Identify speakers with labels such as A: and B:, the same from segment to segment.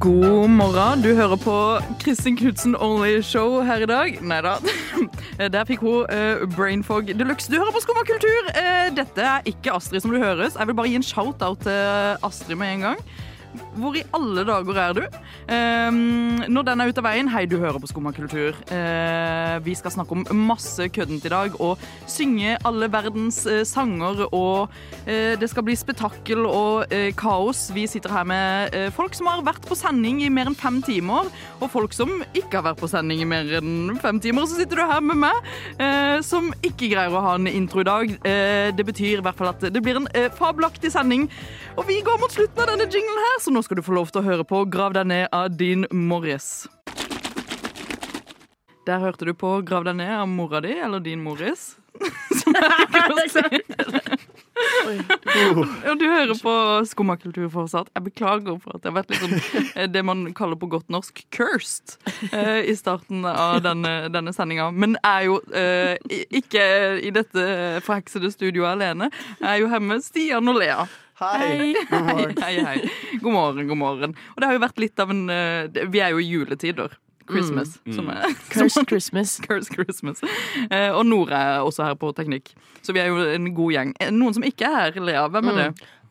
A: God morgen. Du hører på Kristin Knutsen Only Show her i dag. Nei da. Der fikk hun eh, brain fog de luxe. Du hører på Skumma kultur. Eh, dette er ikke Astrid som du høres. Jeg vil bare gi en shout-out til eh, Astrid med en gang. Hvor i alle dager er du? Ehm, når den er ute av veien, hei, du hører på Skumma kultur. Eh, vi skal snakke om masse køddent i dag, og synge alle verdens eh, sanger. Og eh, det skal bli spetakkel og eh, kaos. Vi sitter her med eh, folk som har vært på sending i mer enn fem timer, og folk som ikke har vært på sending i mer enn fem timer. Og så sitter du her med meg, eh, som ikke greier å ha en intro i dag. Eh, det betyr i hvert fall at det blir en eh, fabelaktig sending. Og vi går mot slutten av denne jinglen her, så nå skal du få lov til å høre på Grav deg ned av Dean Morris. Der hørte du på Grav deg ned av mora di, eller din Morris. Som jeg liker å si. Og du hører på skummakultur fortsatt. Jeg beklager for at jeg har vært litt sånn eh, det man kaller på godt norsk cursed eh, i starten av denne, denne sendinga. Men jeg er jo eh, i- ikke i dette forheksede studioet alene. Jeg er jo her med Stian og Lea.
B: Hei!
A: Hei, hei, hei. God morgen, god morgen. Og det har jo vært litt av en eh, det- Vi er jo i juletider. Christmas. Som er,
C: Cursed Christmas.
A: Curse Christmas. Eh, og Nora er også her på teknikk. Så vi er jo en god gjeng. Eh, Noen som ikke er her, Lea. Hvem er det?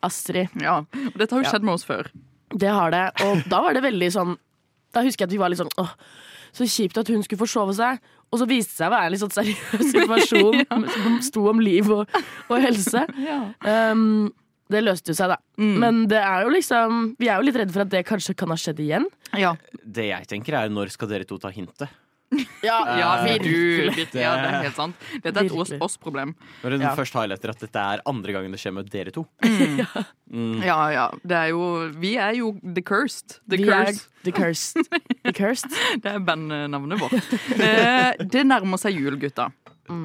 C: Astrid.
A: Ja, og Dette har jo skjedd med oss før.
C: Det har det. Og da var det veldig sånn Da husker jeg at vi var litt sånn åh, så kjipt at hun skulle forsove seg. Og så viste det seg å være en litt sånn seriøs situasjon som sto om liv og, og helse. Um, det løste jo seg, da.
A: Mm.
C: Men det er jo liksom vi er jo litt redde for at det kanskje kan ha skjedd igjen.
A: Ja.
B: Det jeg tenker er, når skal dere to ta hintet?
C: Ja,
A: Ja,
B: Eh,
A: du, virkelig, ja, det er
B: Det-
A: helt sant. Dette er et oss-
C: Virkelig.
A: oss-problem.
B: Når hun
C: Ja.
B: først highlighter at dette er andre gangen det skjer med dere to.
A: Mm. Ja, ja. Det er jo Vi er jo the cursed. The
C: vi er
A: curse.
C: the cursed. The cursed.
A: Det er bandnavnet vårt. Eh, det nærmer seg jul, gutta.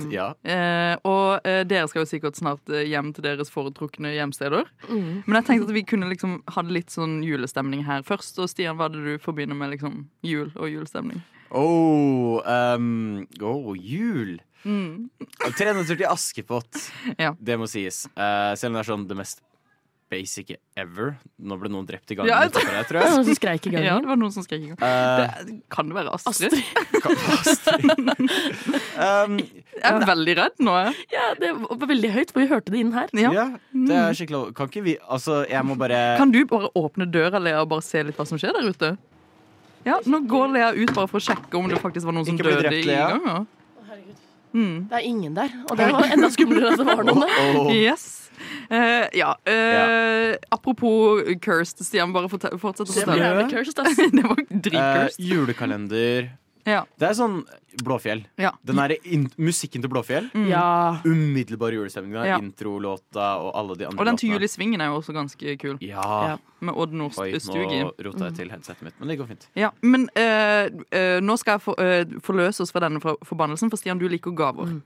B: Ja.
A: Eh, og eh, dere skal jo sikkert snart eh, hjem til deres foretrukne hjemsteder. Men jeg tenkte at vi kunne liksom ha det litt sånn julestemning her først. Og Stian, hva er det du forbinder med liksom jul og julestemning?
B: Oh, um, oh jul! Og 300 til Askepott.
A: Mm. Ja.
B: Det må sies. Eh, selv om det er sånn det mest basic ever. Nå ble noen drept i gangen
A: Ja, jeg
B: utenfor her,
C: Det var
B: tror jeg.
C: noen som skreik i
A: Ja,
C: gangen.
A: det var noen som skrek i gang.
B: Eh,
A: Det, kan det være Astrid?
C: Astrid.
B: um,
A: Jeg er veldig redd nå. jeg.
C: Ja, det var veldig høyt, for vi hørte det inn her.
A: Ja.
B: ja, det er skikkelig Kan ikke vi Altså, jeg må bare
A: Kan du bare åpne døra, Lea, og bare se litt hva som skjer der ute? Ja, Nå går Lea ut bare for å sjekke om det faktisk var noen som
B: Ikke bli
A: døde
B: drept,
A: i
B: Lea.
A: gangen.
C: Det er ingen der, og det var enda skumlere at det var noen der.
B: Oh,
A: Yes. Eh, ja. eh, Apropos cursed, Stian. Bare fortel- fortsett å
C: Det var
A: fortelle.
C: jævlig cursed, ass.
A: Det var
B: eh,
A: dritcursed.
B: julekalender.
A: Ja.
B: Det er sånn Blåfjell.
A: Ja.
B: Den der in musikken til Blåfjell.
C: Mm. Ja.
B: Umiddelbar julestemning. der.
A: Ja.
B: Introlåta og alle de andre
A: Og den til Jul
B: låtene.
A: i Svingen er jo også ganske kul,
B: Ja.
C: Ja. Mm.
A: med Odd
B: Oi,
A: Nordstugi.
B: nå rota jeg til headsetet mitt, men det går fint.
A: Ja, men eh, eh, nå skal jeg for, eh, forløse oss fra denne for forbannelsen, for Stian, du liker gaver.
C: Mm.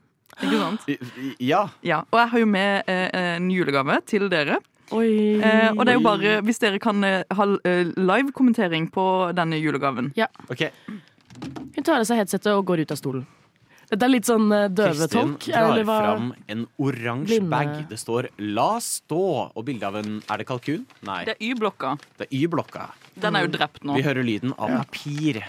A: Ikke sant?
B: I- i- Ja.
A: Ja, Og jeg har jo med eh, en julegave til dere.
C: Oi.
A: Eh, og det er jo bare hvis dere kan eh, ha eh, live-kommentering på denne julegaven.
B: OK.
C: Hun tar av seg headsetet og går ut av stolen. Dette er litt sånn eh,
B: Kristin
C: døvetolk.
B: drar
C: eller hva?
B: fram en oransje
C: Blinde.
B: bag. Det står 'La stå' og bilde av en Er det kalkun? Nei.
A: Det er Y-blokka.
B: Det er Y-blokka.
A: Den er jo drept nå.
B: Vi hører lyden av papir.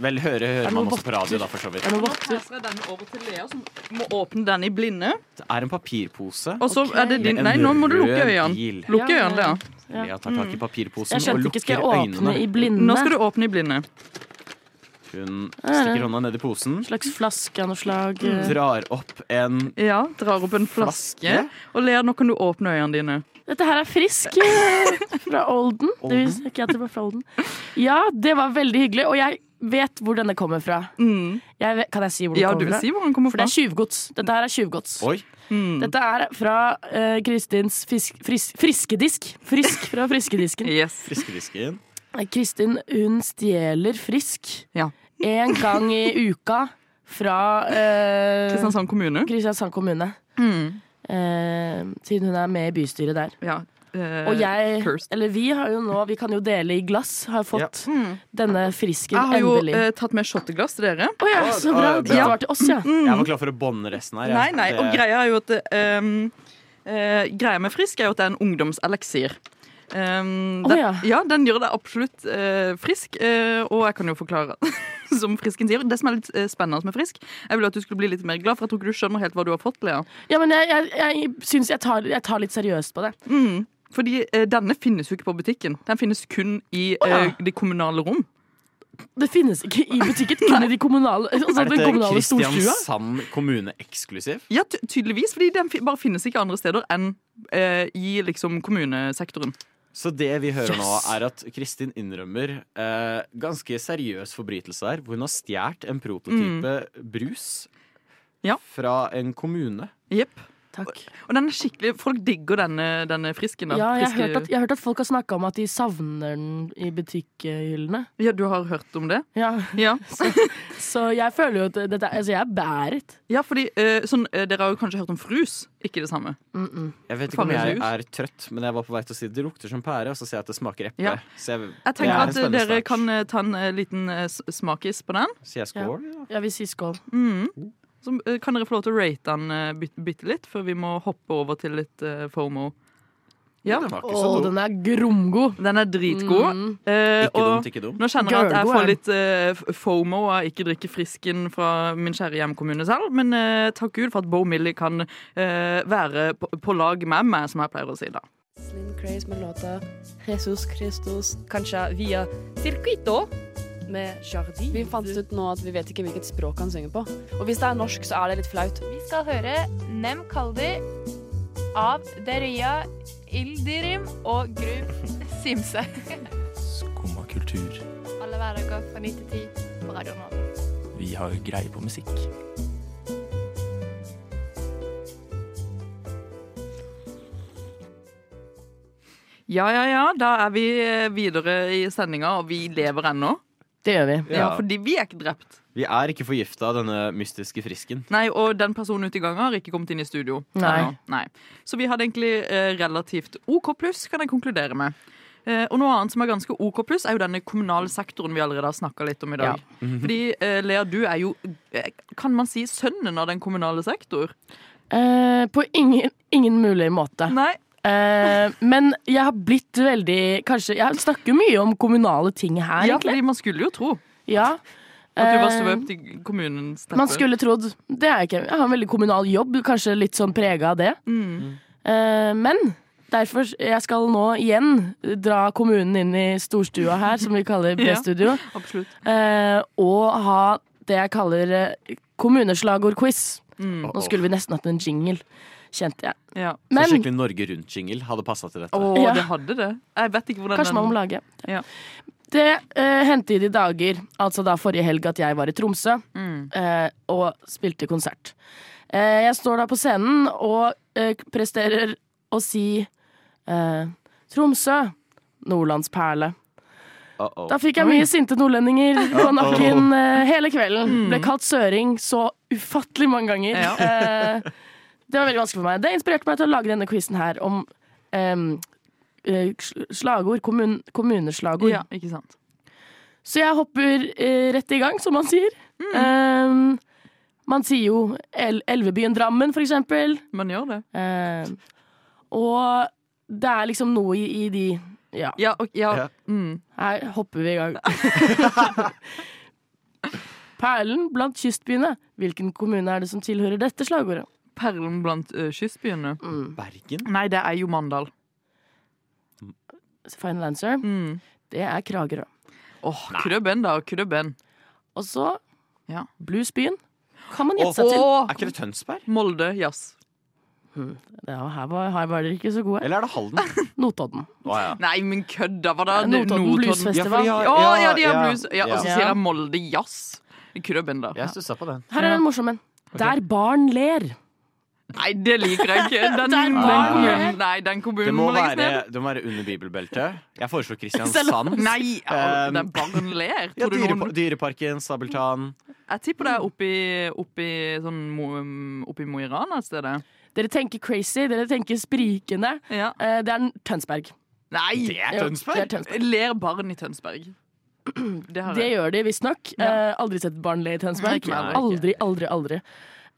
B: Vel, høre hører
C: det
B: man
C: noen
B: også på radio, da, for så vidt.
C: Er det noen
A: Nå
C: votter?
A: passer jeg den over til Lea, som må åpne den i blinde.
B: Det er en papirpose.
A: Og så
C: Ok.
A: er det din
B: Med en
A: Nei, nå må du lukke
B: rød bil.
A: øynene. Lukke
C: Ja,
A: øynene, Lea.
C: Ja. Mm.
B: Lea tar tak i papirposen
C: Jeg
B: og
C: skjønte ikke.
B: lukker
C: Skal jeg åpne i
B: øynene.
C: blinde?
A: Nå skal du åpne i blinde.
B: Hun stikker hånda ned i posen,
C: En slags flaske av noe slag.
A: Mm.
C: eh.
B: drar opp en
A: Ja, drar opp en flaske.
B: Flaske?
A: Og Lea, nå kan du åpne øynene dine.
C: Dette her er frisk eh, fra Olden. Det visste ikke jeg at det var fra Olden. Ja, det var veldig hyggelig, og jeg vet hvor denne kommer fra. Jeg vet, kan jeg si hvor
A: Mm.
C: den
A: Ja, du
C: kommer
A: vil
C: fra?
A: si hvor han kommer
C: For det
A: fra.
C: er tjuvgods. Dette her er tjuvgods.
B: Oi!
C: Dette er fra eh, Kristins fisk, fris, friskedisk. Frisk fra friskedisken.
A: Yes.
B: Fiskedisken.
C: Kristin hun stjeler frisk
A: Ja.
C: en gang i uka fra eh,
A: Kristiansand kommune. Mm.
C: Kristiansand kommune. Eh, siden hun er med i bystyret der.
A: Ja. eh,
C: Og jeg,
A: cursed.
C: eller vi har jo nå, vi kan jo dele i glass, har fått denne frisken
A: mm. Jeg har jo
C: endelig. Å
A: eh, tatt med shotteglass til dere.
C: ja, så bra! Mm,
B: Å,
C: Det
B: ja.
C: var til oss, ja.
B: Jeg var klar for å bånde resten her. jeg.
A: Mm. Nei, nei, og
B: Det-
A: ehm, greia er jo at eh, eh, Greia med Frisk er jo at det er en ungdomseleksir. Um,
C: Å,
A: den,
C: ja.
A: ja. den gjør deg absolutt eh, frisk, eh, og jeg kan jo forklare som frisken sier. Det som er litt eh, spennende med frisk, jeg vil at du skulle bli litt mer glad, for jeg tror ikke du skjønner helt hva du har fått, Lea.
C: Ja, men jeg, jeg, jeg syns jeg, tar- jeg tar litt seriøst på det.
A: Mm. Fordi eh, denne finnes jo ikke på butikken. Den finnes kun i
C: Å, ja.
A: eh, det kommunale rom.
C: Det finnes ikke i butikken, kun i de kommunale, altså,
B: Er
C: den
B: dette
C: kommunale storstua.
B: Kristiansand kommune eksklusiv?
A: Ja, ty tydeligvis, fordi den fi bare finnes ikke andre steder enn eh, i liksom kommunesektoren.
B: Så det vi hører nå,
C: Yes.
B: er at Kristin innrømmer eh, ganske seriøs forbrytelse der, hvor hun har stjålet en prototype brus
A: Mm. Ja.
B: fra en kommune.
A: Jepp.
C: Takk.
A: Og den er skikkelig, folk digger denne, denne frisken. Da.
C: Ja, jeg har
A: Friske-
C: hørt at, jeg har hørt at folk har snakka om at de savner den i butikkhyllene.
A: ja, du har hørt om det?
C: Ja,
A: Ja.
C: så jeg føler jo at dette er- Altså, jeg er bæret.
A: Ja, fordi eh, sånn, eh, Dere har jo kanskje hørt om frus, ikke det samme?
C: Mm -mm.
B: Jeg vet ikke om
A: Faen,
B: jeg
A: brus.
B: er trøtt, men jeg var på vei til å si det lukter som pære, og så ser jeg at det smaker eple.
A: Ja.
B: Så jeg,
A: Jeg
B: det
A: tenker
B: er
A: at
B: en
A: eh,
B: spennende
A: dere
B: start.
A: kan eh, ta en eh, liten eh, s- smakis på den.
B: Sier jeg skål? Ja.
C: Jeg vil si skål.
A: Mhm. Så eh, kan dere få lov til å rate den eh, bit- bitte litt, før vi må hoppe over til litt eh, FOMO. Ja,
B: Den var ikke så
C: Å,
B: dum.
C: den er gromgod.
A: den er dritgod.
C: Mm.
A: Eh,
B: Ikke
A: og
B: dumt, ikke dumt.
A: nå kjenner jeg at jeg
C: Gørrgod,
A: får
C: ja.
A: litt eh, f- FOMO av ikke drikke frisken fra min kjære hjemkommune selv, men eh, takk Gud for at Bo Millie kan eh, være på, på lag med meg, som jeg pleier å si da.
D: Slim Craze med låta Jesus Christus, kanskje via Circuito med Jardi. Vi fant ut nå at vi vet ikke hvilket språk han synger på. Og hvis det er norsk, så er det litt flaut.
E: Vi skal høre Nem Kaldi av Deria Ildirim og Grub Simse.
F: Skumma kultur.
E: Alle hverdager fra 9 til 10 på Radio Nova.
F: Vi har greie på musikk.
A: Ja, ja, ja. Da er vi eh, videre i sendinga, og vi lever ennå.
C: Det gjør vi.
A: Ja.
B: Ja.
A: fordi vi er ikke drept.
B: Vi er ikke forgifta av denne mystiske frisken.
A: Nei, Og den personen ute i gangen har ikke kommet inn i studio.
C: Nei.
A: ennå. Nei. Så vi hadde egentlig eh, relativt OK pluss, kan jeg konkludere med. Eh, og noe annet som er ganske OK pluss, er jo denne kommunale sektoren vi allerede har snakka litt om i dag.
C: Mhm.
A: Fordi eh, Lea, du er jo, eh, kan man si, sønnen av den kommunale sektor?
C: Eh, på ingen, ingen mulig måte.
A: Nei.
C: Eh, men jeg har blitt veldig Kanskje Jeg snakker jo mye om kommunale ting her,
A: Ja,
C: egentlig.
A: fordi man skulle jo tro
C: Ja.
A: at du var
C: Eh,
A: svøpt i kommunens teppe.
C: Man skulle trodd. Det er jeg ikke. Jeg har en veldig kommunal jobb, kanskje litt sånn prega av det.
A: Mm.
C: Eh, men derfor jeg skal nå igjen dra kommunen inn i storstua her, som vi kaller
A: Ja.
C: B-studio,
A: Absolutt.
C: eh, og ha det jeg kaller eh, kommuneslagordquiz.
A: Mm.
B: Åh,
C: Nå skulle vi nesten hatt en jingle, kjente jeg.
A: Ja.
B: åh. Så
C: Men
B: skikkelig Norge Rundt-jingle hadde passa til dette.
A: Å,
C: Ja.
A: det hadde det. Jeg vet ikke hvordan
C: Kanskje man må
A: den
C: lage.
A: Ja.
C: Det eh, hendte i de dager, altså da forrige helg at jeg var i Tromsø
A: Mm.
C: eh, og spilte konsert. Eh, jeg står da på scenen og eh, presterer å si eh, Tromsø, Nordlands perle.
B: Åh, åh.
C: Da fikk jeg mye sinte nordlendinger på nakken eh, hele kvelden.
A: Mm.
C: Ble kalt søring så ufattelig mange ganger.
A: Ja.
C: Eh, det var veldig vanskelig for meg. Det inspirerte meg til å lage denne quizen her om em, eh, sl- slagord, kommun, kommuneslagord.
A: Ja, ikke sant.
C: Så jeg hopper eh, rett i gang, som man sier.
A: Mm.
C: Em, man sier jo El Elvebyen Drammen, for eksempel.
A: Man gjør det.
C: Em, og det er liksom noe i, i de Ja,
A: Ja, ok, ja.
B: Ja.
A: Mm.
C: her hopper vi i gang. Perlen blant kystbyene. Hvilken kommune er det som tilhører dette slagordet?
A: Perlen blant eh, kystbyene.
C: Mm.
B: Bergen?
A: Nei, det er jo Mandal.
C: Final answer.
A: Mm.
C: Det er Kragerø.
A: Åh, Krøbben, da. Krøbben.
C: Og så
A: Ja.
C: Bluesbyen. Kan man gjette
B: Åh,
C: seg til.
B: Er ikke det Tønsberg?
A: Molde, jazz.
C: Ja, her var, her var dere ikke så gode.
B: Eller er det Halden?
C: Notodden.
B: Åh, ja.
A: Nei, men kødda! Hva da?
C: Eh, Notodden Bluesfest.
B: Ja, for de har-
A: Å, ja, de har blues. Ja, og så
C: Ja.
A: sier jeg Molde jazz. Krøbben, da.
B: Jeg stussa på den.
C: Her er en morsom en. Der barn ler.
A: Nei, det liker jeg ikke. Den,
C: Der
A: den
C: var
A: kommunen,
C: det.
A: nei, den
B: Det
A: kommunen
B: må,
A: må legges
B: være,
A: ned.
B: det må være under bibelbeltet. Jeg foreslår
C: Selv
B: Kristiansand.
A: Nei! ja,
B: Um,
A: Den barn ler.
B: Ja,
A: Tror du
B: dyrepa
A: noen
B: Dyreparken, Sabeltann.
A: Jeg tipper det er oppi, oppi, sånn, Mo- oppi Mo i Rana et sted.
C: Dere tenker crazy, dere tenker sprikende.
A: Ja.
C: Eh, Det er Tønsberg.
A: Nei!
B: er
C: Jo, det er Tønsberg.
A: Ler barn i Tønsberg. Det har
C: Det
A: jeg.
C: gjør de visstnok.
A: Ja.
C: Eh, Aldri sett barn le i
A: Nei,
C: Tønsberg.
A: ikke meg
C: Aldri, aldri, aldri.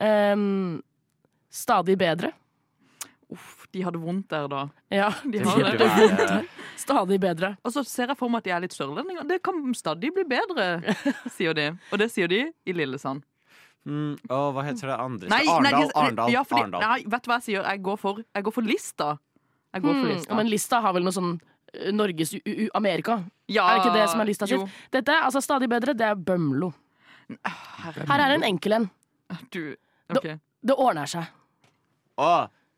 C: Ehm, stadig bedre.
A: Uff, de hadde vondt der da.
C: Ja,
A: De
B: Det
A: har det.
B: burde være-
C: Stadig bedre.
A: Og så ser jeg for meg at de er litt sørlendinger. Det kan stadig bli bedre, sier de. Og det sier de i Lillesand.
B: Mm, å, hva heter det andre?
A: Nei, nei,
B: Arendal.
A: ikke-
B: Arendal.
A: ja, fordi,
B: Arendal.
A: Nei, vet du hva jeg sier? Jeg går for, jeg går for Lista. Jeg går for
C: Hmm,
A: Lista.
C: men lista har vel noe sånn eh, Norges U U Amerika.
A: ja,
C: Er det ikke det som er lista
A: jo.
C: sitt? Dette er altså stadig bedre. Det er Bømlo. Her er en enkel en.
A: Du, ok.
C: Det ordner seg.
B: Å,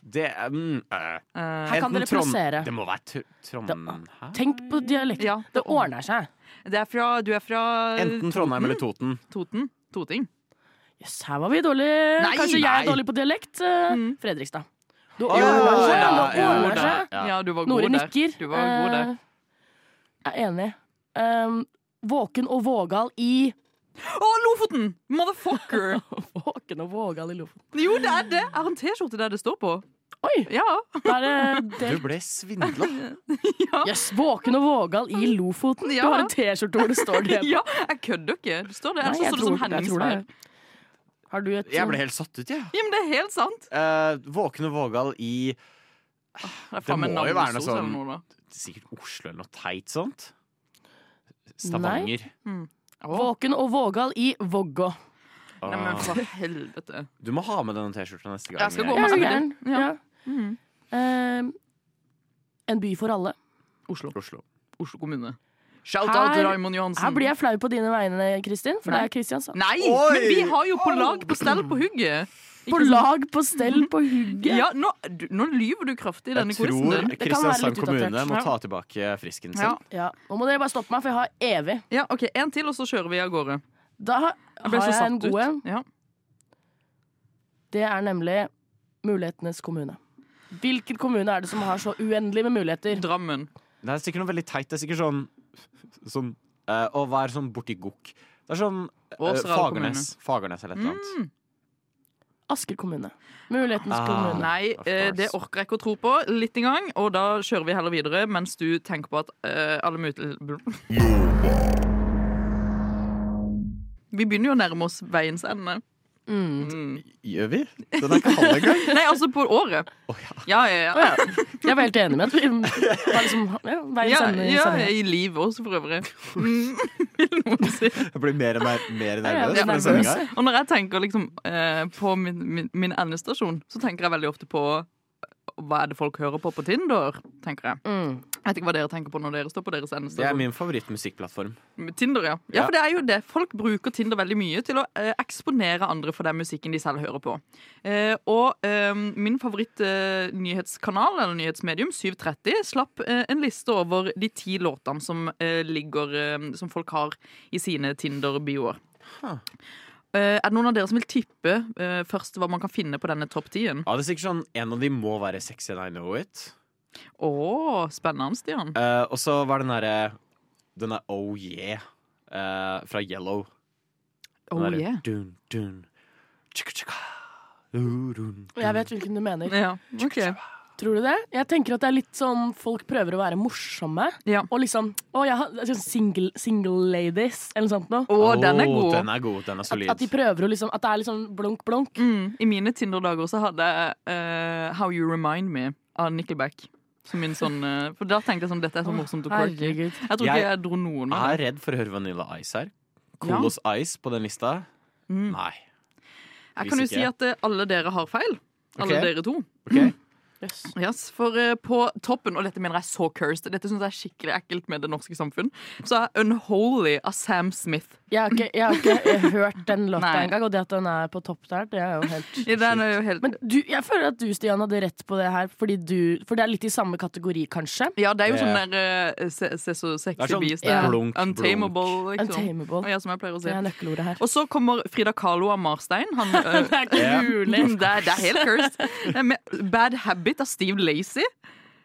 B: det er mm, øh.
A: Eh,
C: Her kan
B: Enten
C: dere
B: Trond-
C: plassere.
B: Det må være tr Trondheim?
C: Tenk på dialekten.
A: ja,
C: Det ordner seg.
A: det er fra, du er fra
B: Enten Trondheim eller Toten.
A: Toten. Toting.
C: Jøss, her var vi dårlig
B: Nei,
C: Kanskje jeg er
B: nei.
C: dårlig på dialekt? eh,
A: Mm.
C: Fredrikstad. Det
B: Å,
C: ordner seg.
B: ja,
C: Det
B: ja,
C: ordner
B: ja,
C: seg.
A: Ja.
B: ja.
A: du var god
C: Nore
A: der.
C: nikker.
A: Du var god der.
C: Eh, Jeg er enig. Um, våken og vågal i
A: Å, Lofoten! Motherfucker!
C: Våken og vågal i Lofoten.
A: Jo, det er det. Jeg har en T-skjorte der det står på.
C: Oi!
A: Ja.
C: Da er det
B: Du
C: delt.
B: ble svindla.
C: Yes, våken og vågal i Lofoten.
A: Ja.
C: Du har en T-skjorte hvor det står det.
A: ja jeg kødder ikke. Det står det.
C: Nei,
A: Ellers så
C: jeg
A: står det
C: tror-
A: sånn
C: jeg tror
A: Henningsvær.
C: det. Har du et
B: Jeg ble helt satt ut, jeg.
A: Ja, men det er helt sant.
B: Eh, våken og vågal i
A: Det, er faen meg
B: må jo være noe
A: navnesort eller
B: sånn-
A: noe, da.
B: sikkert Oslo eller noe teit sånt. Stavanger. sånn-
C: Våken og vågal i Vågå.
B: Åh.
A: Nei, men for helvete.
B: Ah. Du må ha med denne T-skjorta neste gang.
A: Jeg skal
B: jeg-
A: gå med.
C: Er du
A: Ja.
C: gæren?
A: Ja. Mm.
C: Ja. Um, en by for alle.
A: Oslo.
B: Oslo.
A: Oslo kommune. Shout-out
C: Her-
A: til Raymond Johansen.
C: Her blir jeg flau på dine vegne, Kristin, for det
A: Nei.
C: er Kristiansand.
A: Nei,
B: Oi!
A: men vi har jo på lag på stell på hugget.
C: På lag, på stell, på hugget.
A: Ja, nå, du, nå lyver du kraftig i
B: Jeg
A: denne quizen
B: tror
A: din.
C: Det kan være litt
B: Kristiansand kommune
C: utdatert.
B: må ta tilbake frisken sin.
A: Ja.
C: Ja. Nå må dere bare stoppe meg, for jeg har evig.
A: ja, OK, en til, og så kjører vi av gårde.
C: Da har
A: Jeg ble så
C: jeg en
A: satt
C: god en.
A: ut. Ja.
C: Det er nemlig mulighetenes kommune. Hvilken kommune er det som har så uendelig med
B: Eh,
C: muligheter?
A: Drammen.
B: Det er sikkert noe veldig teit. Det er sikkert sånn, sånn eh, Å være sånn borti gokk. Det er sånn eh,
A: Åseral
B: Fagernes. Fagernes eller et eller
A: Mm.
B: annet.
C: Asker kommune. Mulighetens
B: Ah.
C: kommune.
A: Nei,
B: Of
A: eh, det
B: course.
A: orker jeg ikke å tro på litt engang. Og da kjører vi heller videre mens du tenker på at eh, alle mutel... Vi begynner jo å nærme oss veiens ende.
C: Mm.
A: Mm.
B: Gjør vi? Den er ikke halv engang.
A: Nei, altså på året. ja. Ja, ja,
C: Å ja. Jeg var helt enig med at vi var liksom ja,
A: ja.
C: veiens
A: ja,
C: ende i
A: ja
C: sendingen.
A: I livet også, for øvrig. Mm, Vil noen si.
B: Jeg blir mer og mer,
C: Ja,
B: mer nervøs.
C: ja,
B: for den
C: nervøs.
B: sendinga her.
A: Og når jeg tenker liksom, eh, på min, min, min endestasjon, så tenker jeg veldig ofte på eh, hva er det folk hører på på Tinder? tenker Jeg
C: Mm.
A: Jeg vet ikke hva dere tenker på når dere står på deres endestasjon.
B: Det er min favorittmusikkplattform.
A: Tinder, ja. ja.
B: Ja.
A: for det er jo det. Folk bruker Tinder veldig mye til å eh, eksponere andre for den musikken de selv hører på. Eh, og eh, min favoritt-nyhetskanal, eller nyhetsmedium, 730, slapp eh, en liste over de ti låtene som, eh, ligger, eh, som folk har i sine Tinder-bioer.
B: Huh.
A: Eh, er det noen av dere som vil tippe eh, først hva man kan finne på denne topp 10-en?
B: Ja, det er sikkert sånn, En av de må være Sexy and I Know It.
A: Å, spennende, Stian.
B: Eh, og så var den derre Den der Oh Yeah eh, fra Yellow. Den
A: Oh
B: derre
A: yeah.
B: dun, dun, tjukka, tjukka, urun.
C: Jeg vet hvilken du mener.
A: Ja, ok.
C: Tror du det? Jeg tenker at det er litt sånn folk prøver å være morsomme.
A: Ja.
C: Og liksom å, jeg har, sånn single, single ladies, eller noe sånt noe.
A: Å, den er
B: Åh,
A: god.
B: Den er god, den er
C: At,
B: solid.
C: at de prøver å liksom At det er litt sånn blunk, blunk.
A: Mm, I mine Tinder-dager så hadde jeg eh, How You Remind Me av Nickelback. Som min sånn, eh, for da tenkte jeg sånn, dette er så morsomt og quirky.
C: Herregud.
A: Jeg tror
B: Jeg-
A: ikke jeg dro noen av
B: Jeg
A: det.
B: er redd for å høre Vanilla Ice her.
A: Ja.
B: Kolos Ice på den lista?
A: Mm.
B: Nei.
A: Jeg kan jo
B: Hvis
A: si
B: ikke-
A: at eh, alle dere har feil. Alle
B: Ok.
A: dere to.
B: Ok.
C: Yes.
A: Yes, for eh, på toppen, og dette mener jeg er så cursed, dette syns jeg er skikkelig ekkelt med det norske samfunn, så er Unholy av Sam Smith.
C: Jeg har ikke, jeg har ikke eh, hørt den låta
A: Nei.
C: engang, og det at den er på topp der, det er jo helt
A: Ja, Den er jo helt,
C: Men du, jeg føler at du, Stian, hadde rett på det her, fordi du, for det er litt i samme kategori, kanskje.
A: ja, det er jo
B: Det-
A: sånn der eh, se, se så
B: Det er
A: sexy
B: sånn
A: beast.
C: ja.
B: blunk, blunk.
A: Untamable, liksom.
C: Untamable.
A: Ja, som jeg pleier å si.
C: Det er nøkkelordet her.
A: Og så kommer Frida Kahlo av Marstein. Han, eh,
C: Det er ikke
B: Ja.
C: mulig.
A: Mm, Det er, det er helt cursed. Det er med- Bad Habit av Steve Lacey.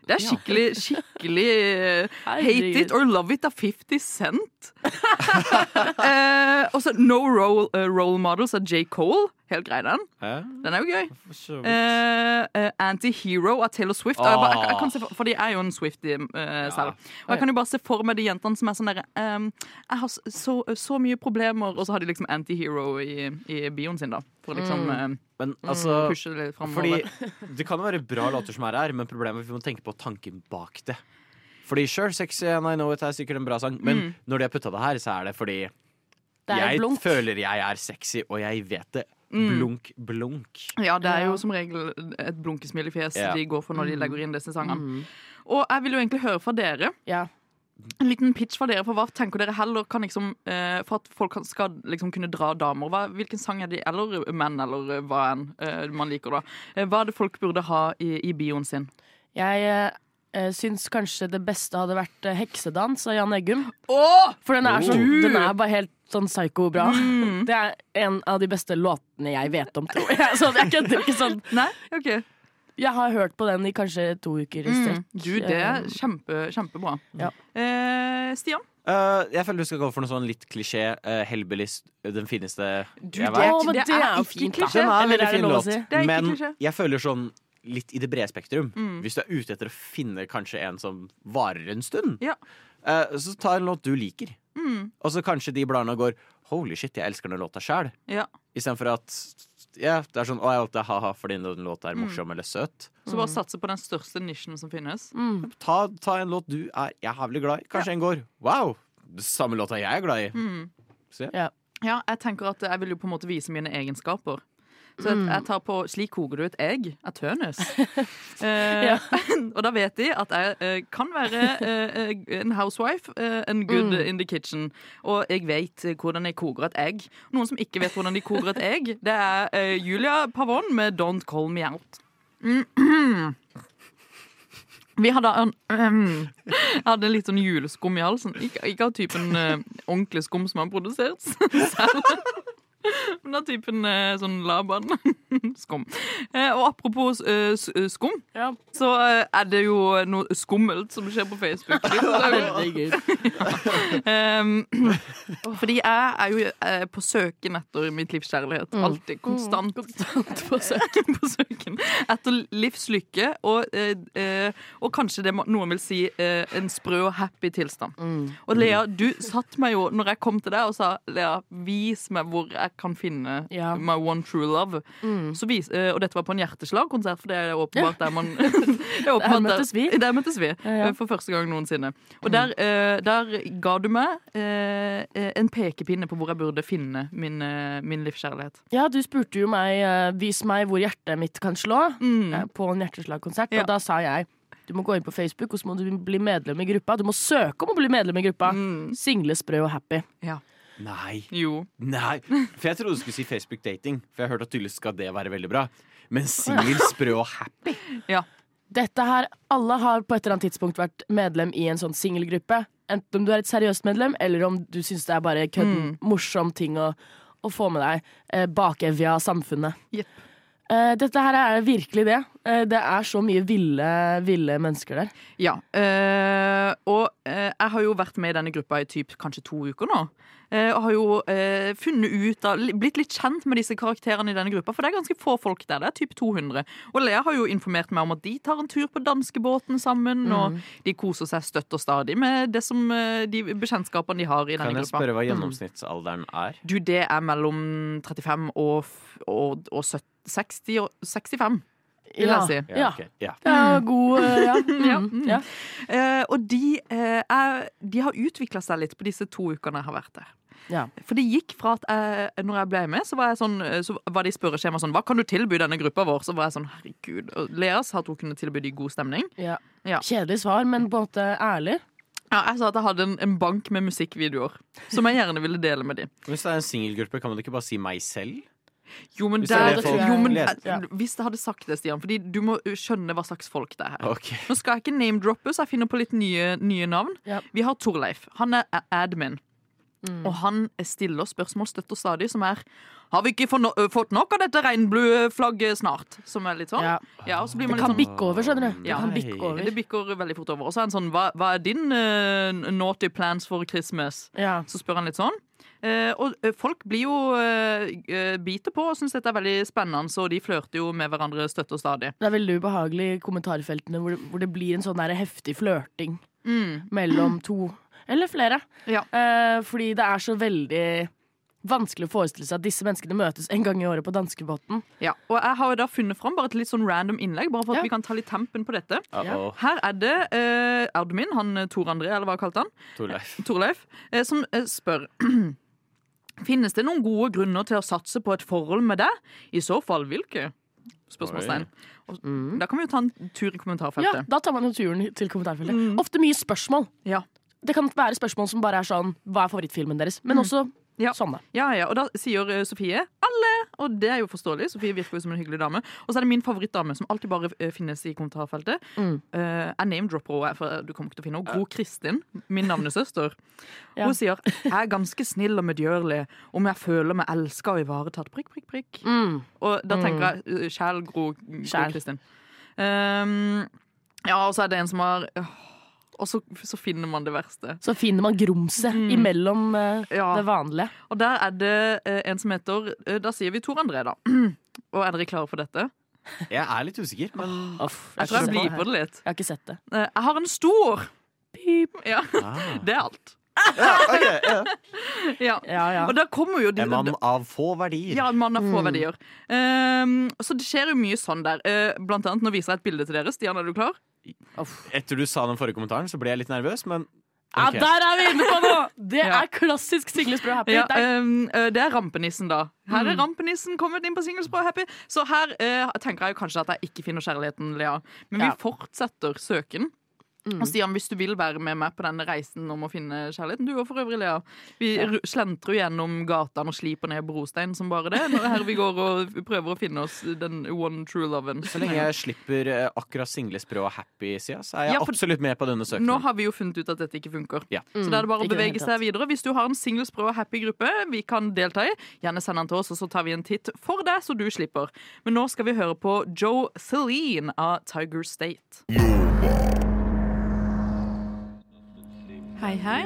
A: Det er skikkelig, skikkelig eh, Hate It or Love It av 50 Cent. eh, og så No Role, eh, role Models av J. Cole. Helt grei, den.
B: Hæ?
A: Den er jo gøy.
B: For så vidt.
A: Eh, eh, Anti-hero av Taylor Swift. Og jeg bare, jeg, jeg kan se for, for de er jo en Swifty eh, selv. Og jeg kan jo bare se for meg de jentene som er sånn derre ehm, Jeg har s- så, så mye problemer, og så har de liksom anti-hero i, i bioen sin, da. For å liksom eh,
B: Men altså
A: pushe det litt
B: Fordi
A: framover.
B: det kan være bra låter som er her, men problemet er at vi må tenke på tanken bak det. Fordi sure, sexy and I know it er sikkert en bra sang, men
A: Mm.
B: når de har putta det her, så er det fordi
C: Det er
B: jeg
C: jo blunk.
B: føler jeg er sexy, og jeg vet det. Blunk, blunk.
A: Ja, det er jo som regel et blunkesmil i fjes
B: Ja. Mm.
A: de går for når de legger inn disse sangene. Og jeg vil jo egentlig høre fra dere.
C: Ja.
A: En liten pitch fra dere, for hva tenker dere heller kan liksom eh, For at folk kan, skal liksom kunne dra damer. Hva, hvilken sang er de, eller menn, eller eh, hva enn eh, man liker, da. Eh, hva er det folk burde ha i, i bioen sin?
C: Jeg eh, syns kanskje det beste hadde vært eh, 'Heksedans' av Jan Eggum.
A: Åh!
C: For den er, sånn,
A: Du!
C: den er bare helt sånn psyko-bra.
A: Mm.
C: Det er en av de beste låtene jeg vet om, tror jeg. Så jeg kødder ikke sånn.
A: Nei? OK.
C: Jeg har hørt på den i kanskje to uker i strekk.
A: Du, det er kjempe, kjempebra.
C: Ja.
A: Eh, Stian?
B: Eh, jeg føler du skal gå for noe sånn litt klisjé. eh, Hellbillies, den fineste jeg
A: det
B: vet.
A: er-
C: Å, men
A: det
C: det er
A: er
C: jo
A: ikke
C: fint,
A: klisjé.
C: da.
B: Den er en
C: Eller er
B: veldig
C: det
B: fin
C: lov å
B: låt,
C: si?
A: Det er ikke
B: men
A: klisjé.
B: jeg føler sånn litt i det brede spektrum. Hvis du er ute etter å finne kanskje en som varer en stund,
A: Ja.
B: eh, så ta en låt du liker. Og så kanskje de bladene går 'Holy shit, jeg elsker den låta sjæl',
A: Ja.
B: istedenfor at ja, det er sånn 'Å, jeg valgte ha-ha fordi den låta er morsom eller søt'.
A: Så bare satse på den største nisjen som finnes.
B: Ta, ta en låt du er jævlig glad i. Kanskje en går 'Wow, det samme låta jeg er glad i'.
A: Ja, jeg tenker at jeg vil jo på en måte vise mine egenskaper. Så jeg- jeg tar på 'slik koker du et egg', er tønes. Eh,
C: Ja.
A: Og da vet de at jeg eh, kan være eh, eh, en housewife eh, and good in the kitchen. Og jeg vet eh, hvordan jeg koker et egg. Noen som ikke vet hvordan de koker et egg, det er eh, Julia Pavon med 'Don't Call Me Out'. Mhm. Vi hadde en Jeg hadde litt sånn juleskum i halsen. Ikke, ikke av typen eh, ordentlig skum som er produsert selv. Men av typen eh, sånn laban. skum. Eh, og apropos eh, s- eh, skum,
C: Ja.
A: så eh, er det jo noe skummelt som skjer på Facebook.
C: Herregud.
A: Um, fordi jeg er jo eh, på søken etter mitt livs kjærlighet.
C: Mm.
A: Alltid. Konstant. på, søken. på søken. Etter livslykke og, eh, eh, og kanskje det må- noen vil si eh, en sprø og happy tilstand.
C: Mm.
A: Og Lea, du satt meg jo når jeg kom til deg og sa Lea, vis meg hvor jeg kan finne
C: Ja. Mm.
A: my one true love. Så vis, eh, og dette var på en hjerteslagkonsert, for det er åpenbart der man det er åpenbart
C: Der møttes vi.
A: Der møttes vi
C: ja.
A: eh, for første gang noensinne. Og der, eh, der ga du meg eh, en pekepinne på hvor jeg burde finne min, eh, min livskjærlighet.
C: Ja, du spurte jo meg eh, Vis meg hvor hjertet mitt kan slå eh, På en hjerteslagkonsert
A: Mm. Ja.
C: Og da sa jeg Du må gå inn på Facebook Og så må du bli medlem i gruppa Du må søke om å bli medlem i gruppa
A: Mm.
C: Single, sprø og happy
B: Nei.
A: Jo.
B: Nei, for jeg trodde du skulle si Facebook dating, for jeg har hørt at tydeligvis skal det være veldig bra. Men singel, sprø og happy
A: Ja.
C: Dette her Alle har på et eller annet tidspunkt vært medlem i en sånn singelgruppe Enten om du er et seriøst medlem Eller om du synes det er bare
A: Mm.
C: kødden Morsom ting å, å få med deg eh, Bakevja av samfunnet
A: Jepp.
C: Eh, Dette her er virkelig det Eh, Det er så mye ville, ville mennesker der
A: Ja. eh, og eh, jeg har jo vært med i denne gruppa i typ kanskje to uker nå. eh, og har jo eh, funnet ut av li- Blitt litt kjent med disse karakterene i denne gruppa, for det er ganske få folk der. Det er typ 200. Og Lea har jo informert meg om at de tar en tur på danskebåten sammen, og de koser seg støtt og stadig med det som, eh, de bekjentskapene de har i
B: Kan
A: denne
B: jeg Mm.
A: gruppa.
B: spørre hva gjennomsnittsalderen er?
A: Du, det er mellom 35 og, f- og, og 70, 60 og 65, vil
C: Ja.
A: jeg si.
C: Ja.
B: ok. ja.
C: Ja, god eh, ja. Mm, ja.
A: Eh, og de, eh, er, de har utvikla seg litt på disse to ukene jeg har vært der.
C: Ja.
A: For det gikk fra at jeg, når jeg ble med, så var, jeg sånn, så var det i spørreskjemaet sånn Hva kan du tilby denne gruppa vår? Så var jeg sånn Herregud. Og Lea sa at hun kunne tilby de god stemning.
C: Ja.
A: Ja.
C: Kjedelig svar, men på en måte ærlig.
A: Ja, jeg sa at jeg hadde en, en bank med musikkvideoer som jeg gjerne ville dele med de.
B: Hvis det er en singelgruppe, kan man ikke bare si meg selv?
A: Jo, men,
B: Hvis det er
A: der,
B: det
C: folk
A: jo, men
B: leser.
A: eh, hvis jeg hadde sagt det, Stian Fordi du må skjønne hva slags folk det er her.
B: Ok.
A: Nå skal jeg ikke name-droppe, så jeg finner på litt nye, nye navn.
C: Ja. Mm.
A: Vi har Torleif. Han er a- admin. Og han stiller spørsmål støtt og stadig, som er Har vi ikke fått no- eh, fått nok av dette regnbueflagget snart? Som er litt sånn.
C: Ja.
A: Ja, og så blir
C: Det
A: man
C: kan
A: litt sånn
C: bikke over, skjønner du. Det
A: Ja.
C: kan bikke
A: Det
C: over.
A: bikker veldig fort over. Og så er han sånn Hva, hva er din eh, naughty plans for Christmas?
C: Ja.
A: Så spør han litt sånn. Eh, og eh, folk blir jo eh, eh, biter på og syns dette er veldig spennende, og de flørter jo med hverandre støtt og stadig.
C: Det er veldig ubehagelig i kommentarfeltene hvor det, hvor det blir en sånn der heftig flørting mellom to eller flere.
A: Mm. Ja.
C: Eh, fordi det er så veldig vanskelig å forestille seg at disse menneskene møtes en gang i året på danskebåten.
A: Ja, og jeg har jo da funnet fram bare et litt sånn random innlegg, bare for at
C: Ja.
A: vi kan ta litt tempen på dette.
B: Uh-oh.
A: Her er det eh, Audun min, han eh, Tor André, eller hva kalte han?
B: Torleif.
A: Torleif, eh, som eh, spør Finnes det noen gode grunner til å satse på et forhold med deg? I så fall hvilke? Spørsmålstegn. Og, Da kan vi jo ta en tur i
C: Ja,
A: kommentarfeltet.
C: da tar man jo turen til kommentarfeltet.
A: Mm.
C: Ofte mye spørsmål.
A: Ja.
C: Det kan være spørsmål som bare er sånn Hva er favorittfilmen deres? Men også
A: Mm. Ja.
C: sånne.
A: Ja, ja, og da sier eh, Sofie alle, og det er jo forståelig. Sofie virker jo som en hyggelig dame. Og så er det min favorittdame, som alltid bare eh, finnes i kommentarfeltet.
C: Mm.
A: Eh, jeg name-dropper henne, for du kommer ikke til å finne henne. God Kristin, min navnesøster.
C: Ja.
A: Hun sier 'Jeg er ganske snill og medgjørlig om jeg føler meg elska og ivaretatt'. Prikk, prikk, prikk.
C: Mm.
A: Og da tenker jeg eh, Kjæl, Gro, Gro
C: Kjæl.
A: Kristin. Um, ja, og så er det en som har åh, Og så, så finner man det verste.
C: Så finner man grumset imellom eh,
A: Ja.
C: det vanlige.
A: Og der er det eh, en som heter eh, Da sier vi Tor André, da. Og er dere klare for dette?
B: Jeg er litt usikker, men
A: Jeg tror jeg
C: skjønner.
A: blir på det litt.
C: Jeg har ikke sett det.
A: Eh, Jeg har en stor
C: Pip.
A: Ja,
B: ah.
A: det er alt.
B: ja, ok, ja.
A: Ja.
C: Ja, ja.
A: Og da kommer jo de
B: En mann av få verdier.
A: Ja, en mann har få verdier. Ehm, så det skjer jo mye sånn der. Eh, blant annet, nå viser jeg et bilde til dere. Stian, er du klar?
B: Etter du sa den forrige kommentaren, så ble jeg litt nervøs, men
C: Ja,
B: ok.
C: der er vi inne på noe! Det
A: Ja.
C: er klassisk Sigle Sprø Happy.
A: Ja,
C: Det er-
A: ehm, eh, det er rampenissen, da. Her er rampenissen kommet inn på singelspråk happy. Så her eh, tenker jeg jo kanskje at jeg ikke finner kjærligheten, Lea. Men
C: Ja.
A: vi fortsetter søken. Og Stian, hvis du vil være med meg på denne reisen om å finne kjærligheten Du og for øvrig, Lea. Vi ru- slentrer jo gjennom gatene og sliper ned brostein som bare det. Når her vi går og prøver å finne oss den one true loven.
B: så lenge jeg slipper eh, akkurat singlesprø og happy-sida, så er jeg
A: Ja, for-
B: absolutt med på denne
A: Nå
B: søknaden.
A: har vi jo funnet ut at dette ikke funker.
B: Ja.
A: Så da er det bare å
C: ikke det
A: bevege
C: hele
A: seg videre. Hvis du har en singlesprø og happy gruppe vi kan delta i, gjerne send den til oss, og så tar vi en titt for deg, så du slipper. Men nå skal vi høre på Joe Celine av Tiger State. Hei, hei.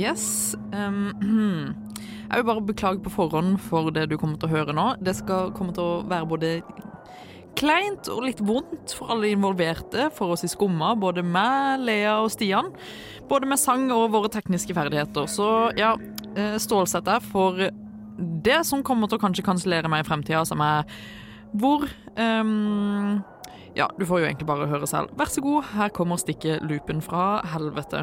A: Yes. Um, jeg vil bare beklage på forhånd for det du kommer til å høre nå. Det skal komme til å være både kleint og litt vondt for alle involverte, for oss i Skumma, både meg, Lea og Stian. Både med sang og våre tekniske ferdigheter. Så ja, eh, stålsett deg for det som kommer til å kanskje kansellere meg i fremtida, som er hvor ehm, Ja, du får jo egentlig bare høre selv. Vær så god, her kommer stikkelupen fra helvete.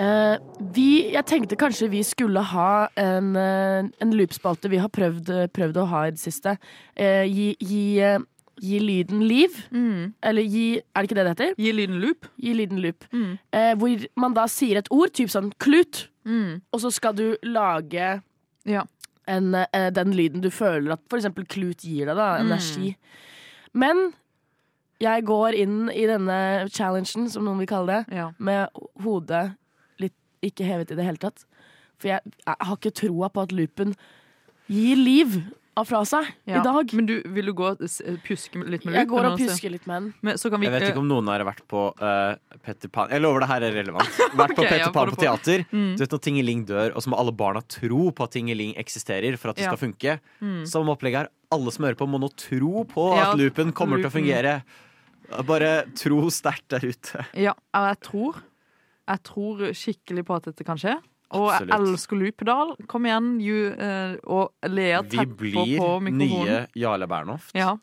C: Eh, vi, jeg tenkte kanskje vi skulle ha en, eh, en loopspalte vi har prøvd, prøvd å ha i det siste. Eh, gi, gi, eh, gi lyden liv. Eller gi Er det ikke det det heter?
A: Gi lyden loop.
C: Gi lyden loop. Eh, hvor man da sier et ord, typ sånn klut,
A: Mm.
C: og så skal du lage
A: Ja.
C: en, eh, den lyden du føler at f.eks. klut gir deg, da. Energi. Men jeg går inn i denne challengen, som noen vil kalle det,
A: Ja.
C: med hodet litt ikke hevet i det hele tatt. For jeg, jeg har ikke troa på at loopen gir liv av fra seg i dag.
A: Men du, vil du gå og s- pjuske litt med loopen?
C: Jeg går og
A: og se-
C: pjusker litt med den.
A: Men så kan vi
B: Jeg vet ikke om noen av dere har vært på eh, Petter Pan Jeg lover det her er relevant. Vært på
A: Ok, ja,
B: Petter
A: får Mm.
B: Pan på
A: du på.
B: teater. Du vet Når Tingeling dør, og så må alle barna tro på at Tingeling eksisterer for at det
A: Ja. Mm.
B: skal funke. Som opplegget er alle som hører på, må nå tro på
A: Ja, Mm,
B: at loopen kommer til å
A: loopen.
B: fungere. Bare tro sterkt der ute.
A: Ja, og jeg tror Jeg tror skikkelig på at dette kan skje. Og jeg
B: Absolutt.
A: elsker Lupedal. Kom igjen, you, eh, og Lea
B: Vi
A: tepper på
B: blir
A: mikrofonen.
B: nye Jarle Bernhoft.
A: Ja.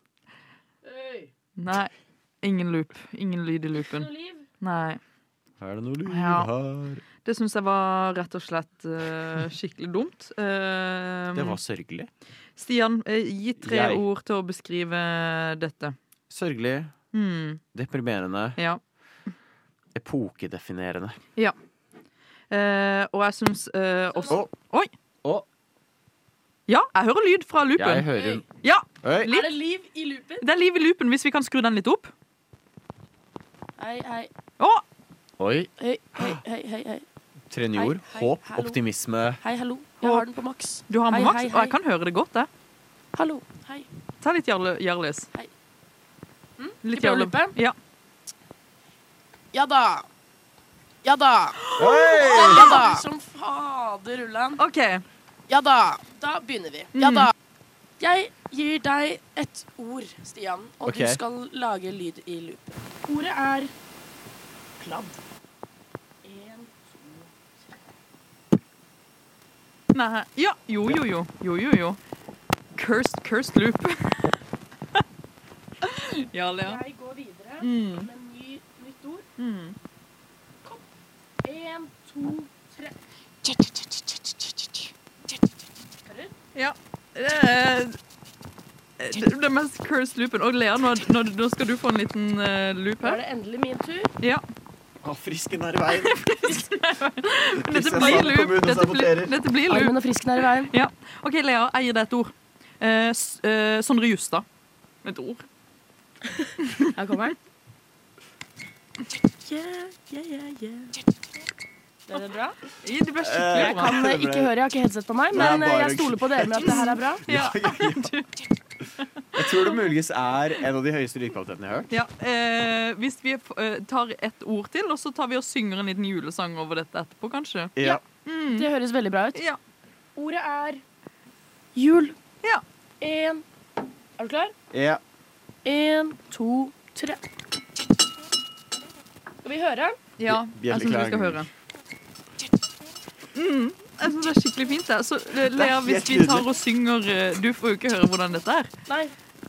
A: Nei, ingen loop. Ingen lyd i loopen. Nei.
B: Er det noe lyd
A: Ja.
B: her?
A: Det syns jeg var rett og slett eh, skikkelig dumt. Eh,
B: Det var sørgelig.
A: Stian, eh, gi tre
B: Jeg.
A: ord til å beskrive dette.
B: Sørgelig,
A: Hmm,
B: deprimerende,
A: ja.
B: epokedefinerende.
A: Eh, og jeg syns eh, også
B: Å.
A: Oi!
B: Å.
A: Ja, jeg hører lyd fra
B: Jeg
A: loopen.
B: hører
A: Ja,
B: Oi.
A: Liv.
C: Er det liv i loopen?
A: Det er liv i loopen, hvis vi kan skru den litt opp.
C: Hei, hei,
A: Å,
B: Oi.
C: hei, hei, hei. hei, hei.
B: Tre nye
C: Hei,
B: ord.
C: hei,
B: Håp,
C: hallo.
B: optimisme.
C: Hei, hallo. Jeg har den på maks.
A: Du har med
C: Hei,
A: maks,
C: hei,
A: og jeg
C: hei.
A: kan høre det godt, jeg.
C: Hallo. Hei.
A: Ta litt jarle- Jarlis.
C: Hei.
A: Litt
C: Skal vi
A: jarle.
C: prøve å løpe?
A: Ja.
C: Ja da. Ja da.
B: Hei!
C: Ja da. Som fader, Ulland.
A: OK.
C: Ja da. Da begynner vi. Ja da. Mm. Jeg gir deg et ord, Stian, og
B: Ok.
C: du skal lage lyd i loopen. Ordet er kladd. En, to,
A: Nei. Ja. Jo, jo, jo. Jo, jo, jo. Cursed, cursed loop. Jarle, ja.
C: Jeg går videre
A: Mm.
C: med en ny, nytt ord.
A: Mm.
C: En, to, tre.
A: Ja. Det er Eh, det er den mest cursed loopen. Og Lea, nå, nå, nå skal du få en liten eh, loop
C: Nå er
A: her.
C: det endelig min tur.
A: Ja.
B: Å, frisken er i veien.
A: Dette blir loop. Dette blir, dette blir loop.
C: Armen og frisken er i veien.
A: Ja. OK, Lea, jeg gir deg et ord. Eh, s- eh, Sondre Justad. Et ord.
C: Her kommer den. Yeah, yeah, yeah, yeah. Det er det bra?
A: Ja, Det ble skikkelig
B: Eh,
C: Jeg
A: bra.
C: kan eh, ikke høre, jeg har ikke headset på meg,
B: Det er
C: men eh,
B: bare
C: jeg stoler på dere med at det her er bra.
A: Ja.
B: Jeg tror det muligens er en av de høyeste lydkvalitetene jeg har hørt.
A: Ja, eh, hvis vi eh, tar ett ord til, og så tar vi og synger en liten julesang over dette etterpå, kanskje.
B: Ja.
C: Det høres veldig bra ut.
A: Ja.
C: Mm. Ordet er jul.
A: Ja.
C: En Er du klar?
B: ja.
C: En, to, tre. Skal vi høre?
A: ja jeg syns vi skal
B: Bjelleklang.
A: høre. Mm, jeg syns det er skikkelig fint. Det. Så eh, Lea,
B: helt
A: hvis vi
B: nydelig.
A: tar og synger eh, Du får jo ikke høre hvordan dette er,
C: Nei.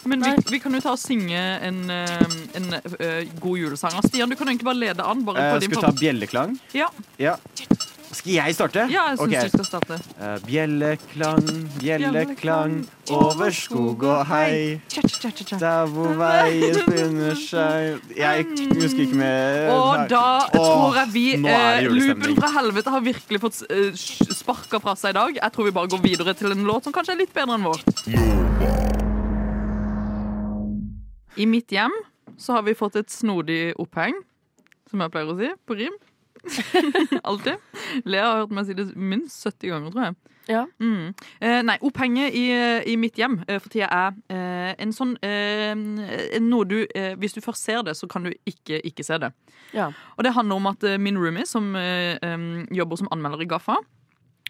A: men vi,
C: Nei.
A: vi kan jo ta og synge en, eh, en eh, god julesang. Stian, du kan egentlig bare lede an. Bare
B: Eh,
A: på din
B: skal vi ta
A: favoritt.
B: bjelleklang?
A: Ja.
B: Ja. Skal jeg starte?
A: Ja, jeg syns
B: Ok.
A: du skal starte.
B: Eh, bjelleklang, bjelleklang, over skog og hei.
A: Tja, tja, tja, tja.
B: Der hvor veien finner seg Jeg husker ikke mer.
A: Og da tror jeg vi
B: Eh, nå er
A: eh,
B: det julestemning.
A: Loopen fra helvete har virkelig fått eh, sj- sparka fra seg i dag. Jeg tror vi bare går videre til en låt som kanskje er litt bedre enn vår. I mitt hjem så har vi fått et snodig oppheng, som jeg pleier å si, på rim. Alltid. Lea har hørt meg si det minst 70 ganger, tror jeg.
C: Ja.
A: Mm. Eh, nei, opphenget i, i mitt hjem eh, for tida er eh, en sånn eh, en- Noe du eh, Hvis du først ser det, så kan du ikke ikke se det.
C: Ja.
A: Og det handler om at eh, min roomie, som eh, em, jobber som anmelder i Gaffa,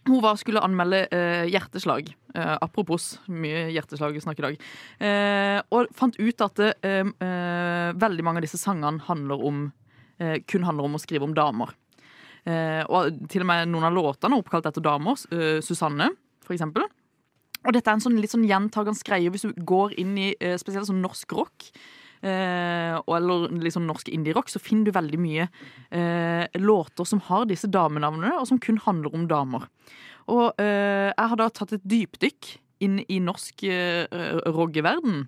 A: hun var, skulle anmelde eh, hjerteslag. Eh, apropos mye hjerteslag vi snakker i dag. Eh, og fant ut at eh, eh, veldig mange av disse sangene handler om, eh, kun handler om å skrive om damer. Eh, og til og med noen av låtene er oppkalt etter damer. eh, Susanne, for eksempel. Og dette er en sånn, litt sånn gjentagende greie hvis du går inn i eh, spesielt sånn norsk rock. Eh, og- eller liksom norsk indie-rock, så finner du veldig mye eh, låter som har disse damenavnene, og som kun handler om damer. Og eh, jeg har da tatt et dypdykk inn i norsk eh, roggeverden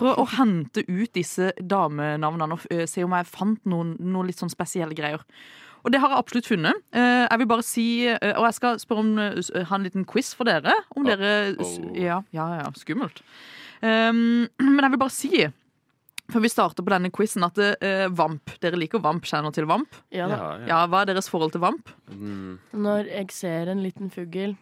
A: for å, å hente ut disse damenavnene og eh, se om jeg fant noen, noen litt sånn spesielle greier. Og det har jeg absolutt funnet. Eh, jeg vil bare si, eh, Og jeg skal spørre om eh, s- ha en liten quiz for dere. Om dere s-
B: Uh-oh.
A: Ja, ja, ja. Skummelt. Um, men jeg vil bare si før vi starter på denne quizen, at eh, Vamp Dere liker Vamp? Kjenner dere til Vamp?
C: Ja da.
B: ja.
A: Ja, Hva er deres forhold til Vamp?
B: Mm.
C: Når jeg ser en liten fugl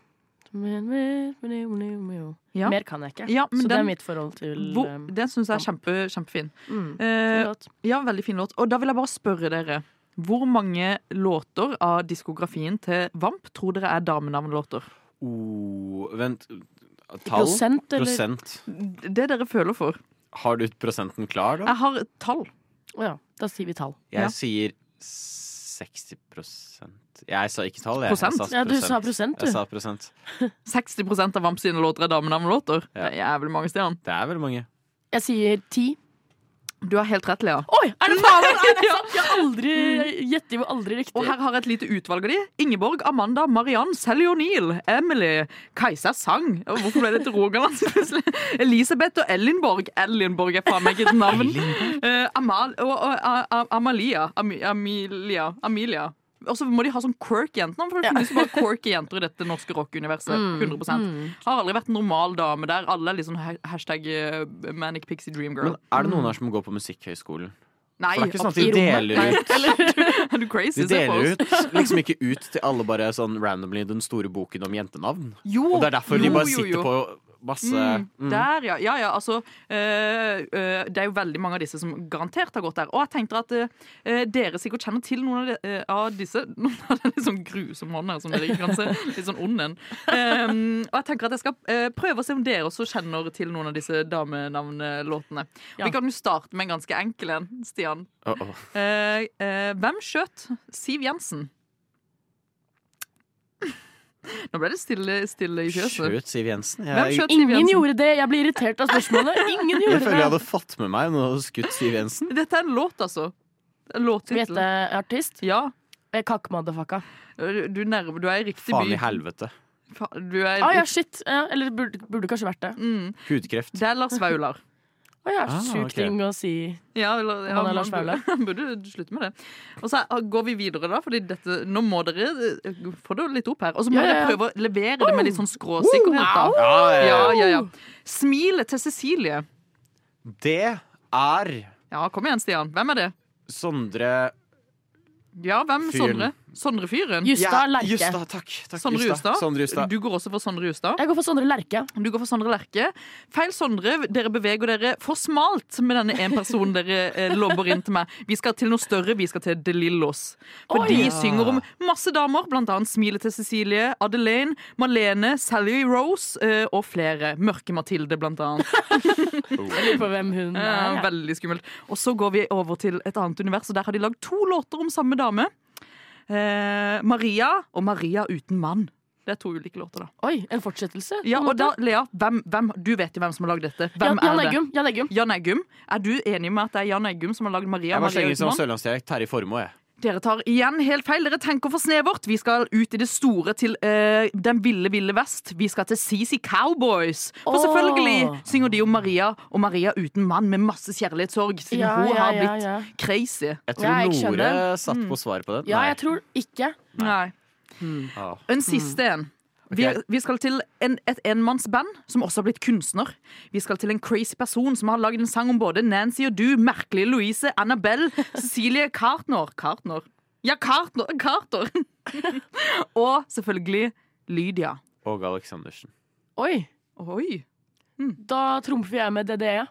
A: Ja.
C: Mer kan jeg ikke.
A: Ja, men
C: så det
A: den-
C: er mitt forhold til
A: Hvor,
C: um,
A: den syns jeg er kjempe, kjempefin.
C: mm,
A: Eh,
C: låt.
A: ja, veldig fin låt. Og da vil jeg bare spørre dere. Hvor mange låter av diskografien til Vamp tror dere er damenavnlåter?
B: Oh, vent.
C: I
B: Tall?
C: prosent, eller?
B: Prosent.
A: Det dere føler for.
B: Har du prosenten klar, da?
A: Jeg har et tall.
C: Å ja, da sier vi tall.
A: ja.
B: Jeg sier 60 Jeg sa ikke tall, jeg.
A: Prosent?
B: Jeg
C: Ja, du sa prosent, du.
B: Jeg sa prosent.
A: 60 av Vamp sine låter er damenavnlåter.
B: Ja.
A: Det er jævlig mange, Stian.
B: Det er veldig mange.
C: Jeg sier ti.
A: Du har helt rett, Lea.
C: Oi, er det faen? Er det sant? Jeg har aldri gjetter jo aldri riktig.
A: Og Mm. her har jeg et lite utvalg av de. Ingeborg, Amanda, Mariann, Sally O'Neill, Emily, Kajsa Sang Å, Hvorfor ble det til Rogaland? plutselig? Elisabeth og Ellinborg. Ellinborg er faen meg ikke et navn. Eh, Amal, og, og, a, a, Amalia. Ami, Amelia. Amelia. Og så må de ha sånn quirky jentenavn, for det finnes jo bare quirky jenter i dette norske rockuniverset.
B: Mm.
A: 100 Har aldri vært en normal dame der. Alle er litt sånn ha- hashtag eh, manic pixie dream girl.
B: Men er det noen her som går på Musikkhøgskolen?
A: Nei,
B: For det er ikke sånn at
A: absolutt.
B: de deler ut
C: Eller,
A: Er du crazy?
B: De deler ut, liksom ikke ut til alle bare sånn randomly den store boken om jentenavn.
A: Jo,
B: Og det er derfor
A: jo,
B: de bare
A: jo,
B: sitter
A: jo.
B: på masse
A: Mm,
B: mm.
A: Der, ja. Ja, ja, altså eh, eh, Det er jo veldig mange av disse som garantert har gått der. Og jeg tenkte at eh, eh, dere sikkert kjenner til noen av, de, eh, av disse. Noen av den litt sånn grusomme hånda som dere ikke kan se. Litt sånn ond en. Ehm, og jeg tenker at jeg skal eh, prøve å se om dere også kjenner til noen av disse damenavnlåtene.
C: Ja.
A: Vi kan jo starte med en ganske enkel en, Stian.
B: Åh, åh.
A: Eh, eh, hvem skjøt Siv Jensen? Nå ble det stille, stille i fjøset.
B: Skjøt Siv Jensen.
A: Hvem
B: Jeg,
A: skjøt Siv
C: Ingen
A: Jensen?
C: gjorde det! Jeg blir irritert av spørsmålet. Ingen
B: jeg
C: gjorde
B: føler jeg
C: det!
B: hadde fått med meg noe skutt Siv Jensen.
A: Dette er en låt, altså.
C: Skal vi
A: Låttittel.
C: gjette artist?
A: Ja.
C: Eh, Kakk motherfucka.
A: Du, nærmer, du er i riktig
B: Faen
A: by.
B: i helvete.
A: Fa- Du er i
C: Ah, ja, shit. Ja, eller burde, burde kanskje vært det.
A: mm.
B: Hudkreft.
A: Det er Lars Vaular.
C: Å ja,
B: Ah,
C: sjuk
B: ok.
C: ting å si.
A: Ja, eller, ja,
C: Han er Lars
A: burde- Burde slutte med det. Og så er- går vi videre, da. Fordi dette, nå må dere eh, få det litt opp her. Og så må
C: Ja, ja, ja.
A: dere prøve å levere det med litt sånn skråsikkerhet. da
B: Ja, ja, ja.
A: Ja, ja, ja. Smilet til Cecilie.
B: Det er
A: Ja, kom igjen, Stian. Hvem er det?
B: Sondre
A: Ja, hvem?
B: Fyren.
A: Sondre? Sondre-fyren?
C: Justad
B: Ja,
C: Lerche.
B: Justad, takk. takk
A: Sondre
B: Justad.
A: Justad.
B: Sondre Justad.
A: Du går også for Sondre Justad.
C: Jeg går for Sondre Lerche.
A: Du går for Sondre Lerche. Feil Sondre, dere beveger dere for smalt med denne en personen dere eh, lobber inn til meg. Vi skal til noe større, vi skal til De Lillos. For
C: Oi.
A: de
B: Ja.
A: synger om masse damer, blant annet Smilet til Cecilie, Adelaine, Malene, Sally Rose eh, og flere. Mørke Mathilde, blant annet.
C: Jeg lurer på hvem hun
A: Eh,
C: er.
A: veldig skummelt. Og så går vi over til et annet univers, og der har de lagd to låter om samme dame. Eh, Maria og Maria uten mann. Det er to ulike låter, da.
C: Oi, en fortsettelse? på
A: Ja,
C: en
A: og
C: måte.
A: da, Lea, hvem, hvem, du vet jo hvem som har lagd dette. Hvem
C: Jan, Jan
A: er det?
C: Eggum. Jan Eggum.
A: Jan Eggum. Er du enig med at det er Jan Eggum som har lagd Maria?
B: Jeg var
A: Maria
B: slenger som
A: Utemann?
B: sørlandsdialekt Terje Formoe, jeg.
A: Dere tar igjen helt feil. Dere tenker for snevert. Vi skal ut i det store til eh, Den ville, ville vest. Vi skal til CC Cowboys. For
C: Åh.
A: selvfølgelig synger de om Maria og Maria uten mann med masse kjærlighetssorg, siden
C: Ja,
A: hun
C: ja,
A: har
C: ja,
A: blitt
C: ja.
A: crazy.
B: Jeg
C: Ja, jeg
B: tror Nore
C: skjønner. Mm.
B: satt på svaret på den.
C: Ja,
B: Nei.
C: jeg tror ikke.
A: Nei.
B: Ja.
A: En siste en. Vi,
B: Ok.
A: vi skal til en, et enmannsband som også har blitt kunstner. Vi skal til en crazy person som har lagd en sang om både Nancy og du, merkelige Louise, Annabelle, Cecilie Cartner Cartner? Ja, Cartner! Carter! og selvfølgelig Lydia.
B: Og Aleksandersen.
C: Oi.
A: Oi.
C: Da trumfer jeg med DDE.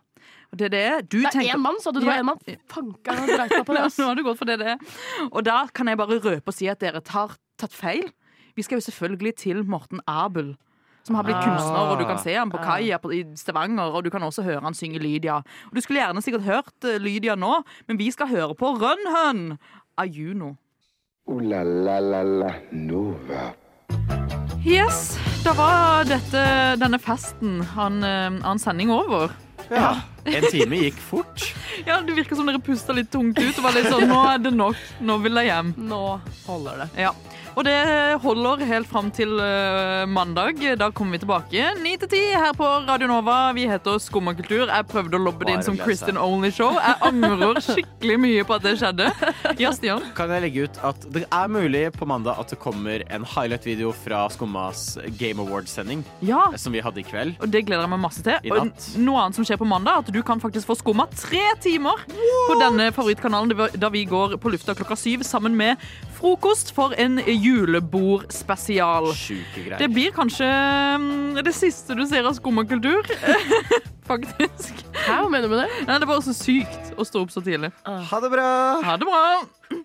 A: Og det er det du
C: Det er
A: tenker
C: én mann, sa du det
A: Ja.
C: var én mann? Fanka, jeg dreit meg på det. ass.
A: Nå har du gått for DDE. Og da kan jeg bare røpe og si at dere har tatt feil. Vi skal jo selvfølgelig til Morten Abel. Som har blitt
C: Ah.
A: kunstner, og du kan se ham på
C: Ah.
A: kaia på- i Stavanger. Og du kan også høre han synge Lydia. Og du skulle gjerne sikkert hørt eh, Lydia nå, men vi skal høre på Rønnhøn av Juno.
G: Ooh la la la la Nova.
A: Yes, da var dette, denne festen han, eh, han sending over.
B: Ja. En time gikk fort.
A: Ja, Det virker som dere pusta litt tungt ut og var litt sånn Nå er det nok. Nå vil jeg hjem.
C: Nå holder det.
A: Ja. Og det holder helt fram til eh, mandag. Da kommer vi tilbake 9 til 10 her på Radio Nova. Vi heter Skummakultur. Jeg prøvde å lobbe det inn
B: Bare
A: som
B: lese.
A: Kristin Only Show. Jeg angrer skikkelig mye på at det skjedde. Ja, Stian.
B: Kan jeg legge ut at det er mulig på mandag at det kommer en highlight-video fra Skummas Game Awards-sending
A: Ja.
B: som vi hadde i kveld.
A: Og det gleder jeg meg masse til.
B: I
A: Og
B: natt.
A: noe annet som skjer på mandag, er at du kan faktisk få skumma tre timer på denne favorittkanalen det var- da vi går på lufta klokka syv sammen med frokost for en julebordspesial.
B: Sjuke
A: Det
B: greier.
A: blir kanskje mm, det siste du ser av skummakultur. Faktisk.
C: Hæ, hva mener du med det?
A: Nei, det var også sykt å stå opp så tidlig.
B: Ha det bra!
A: Ha det bra!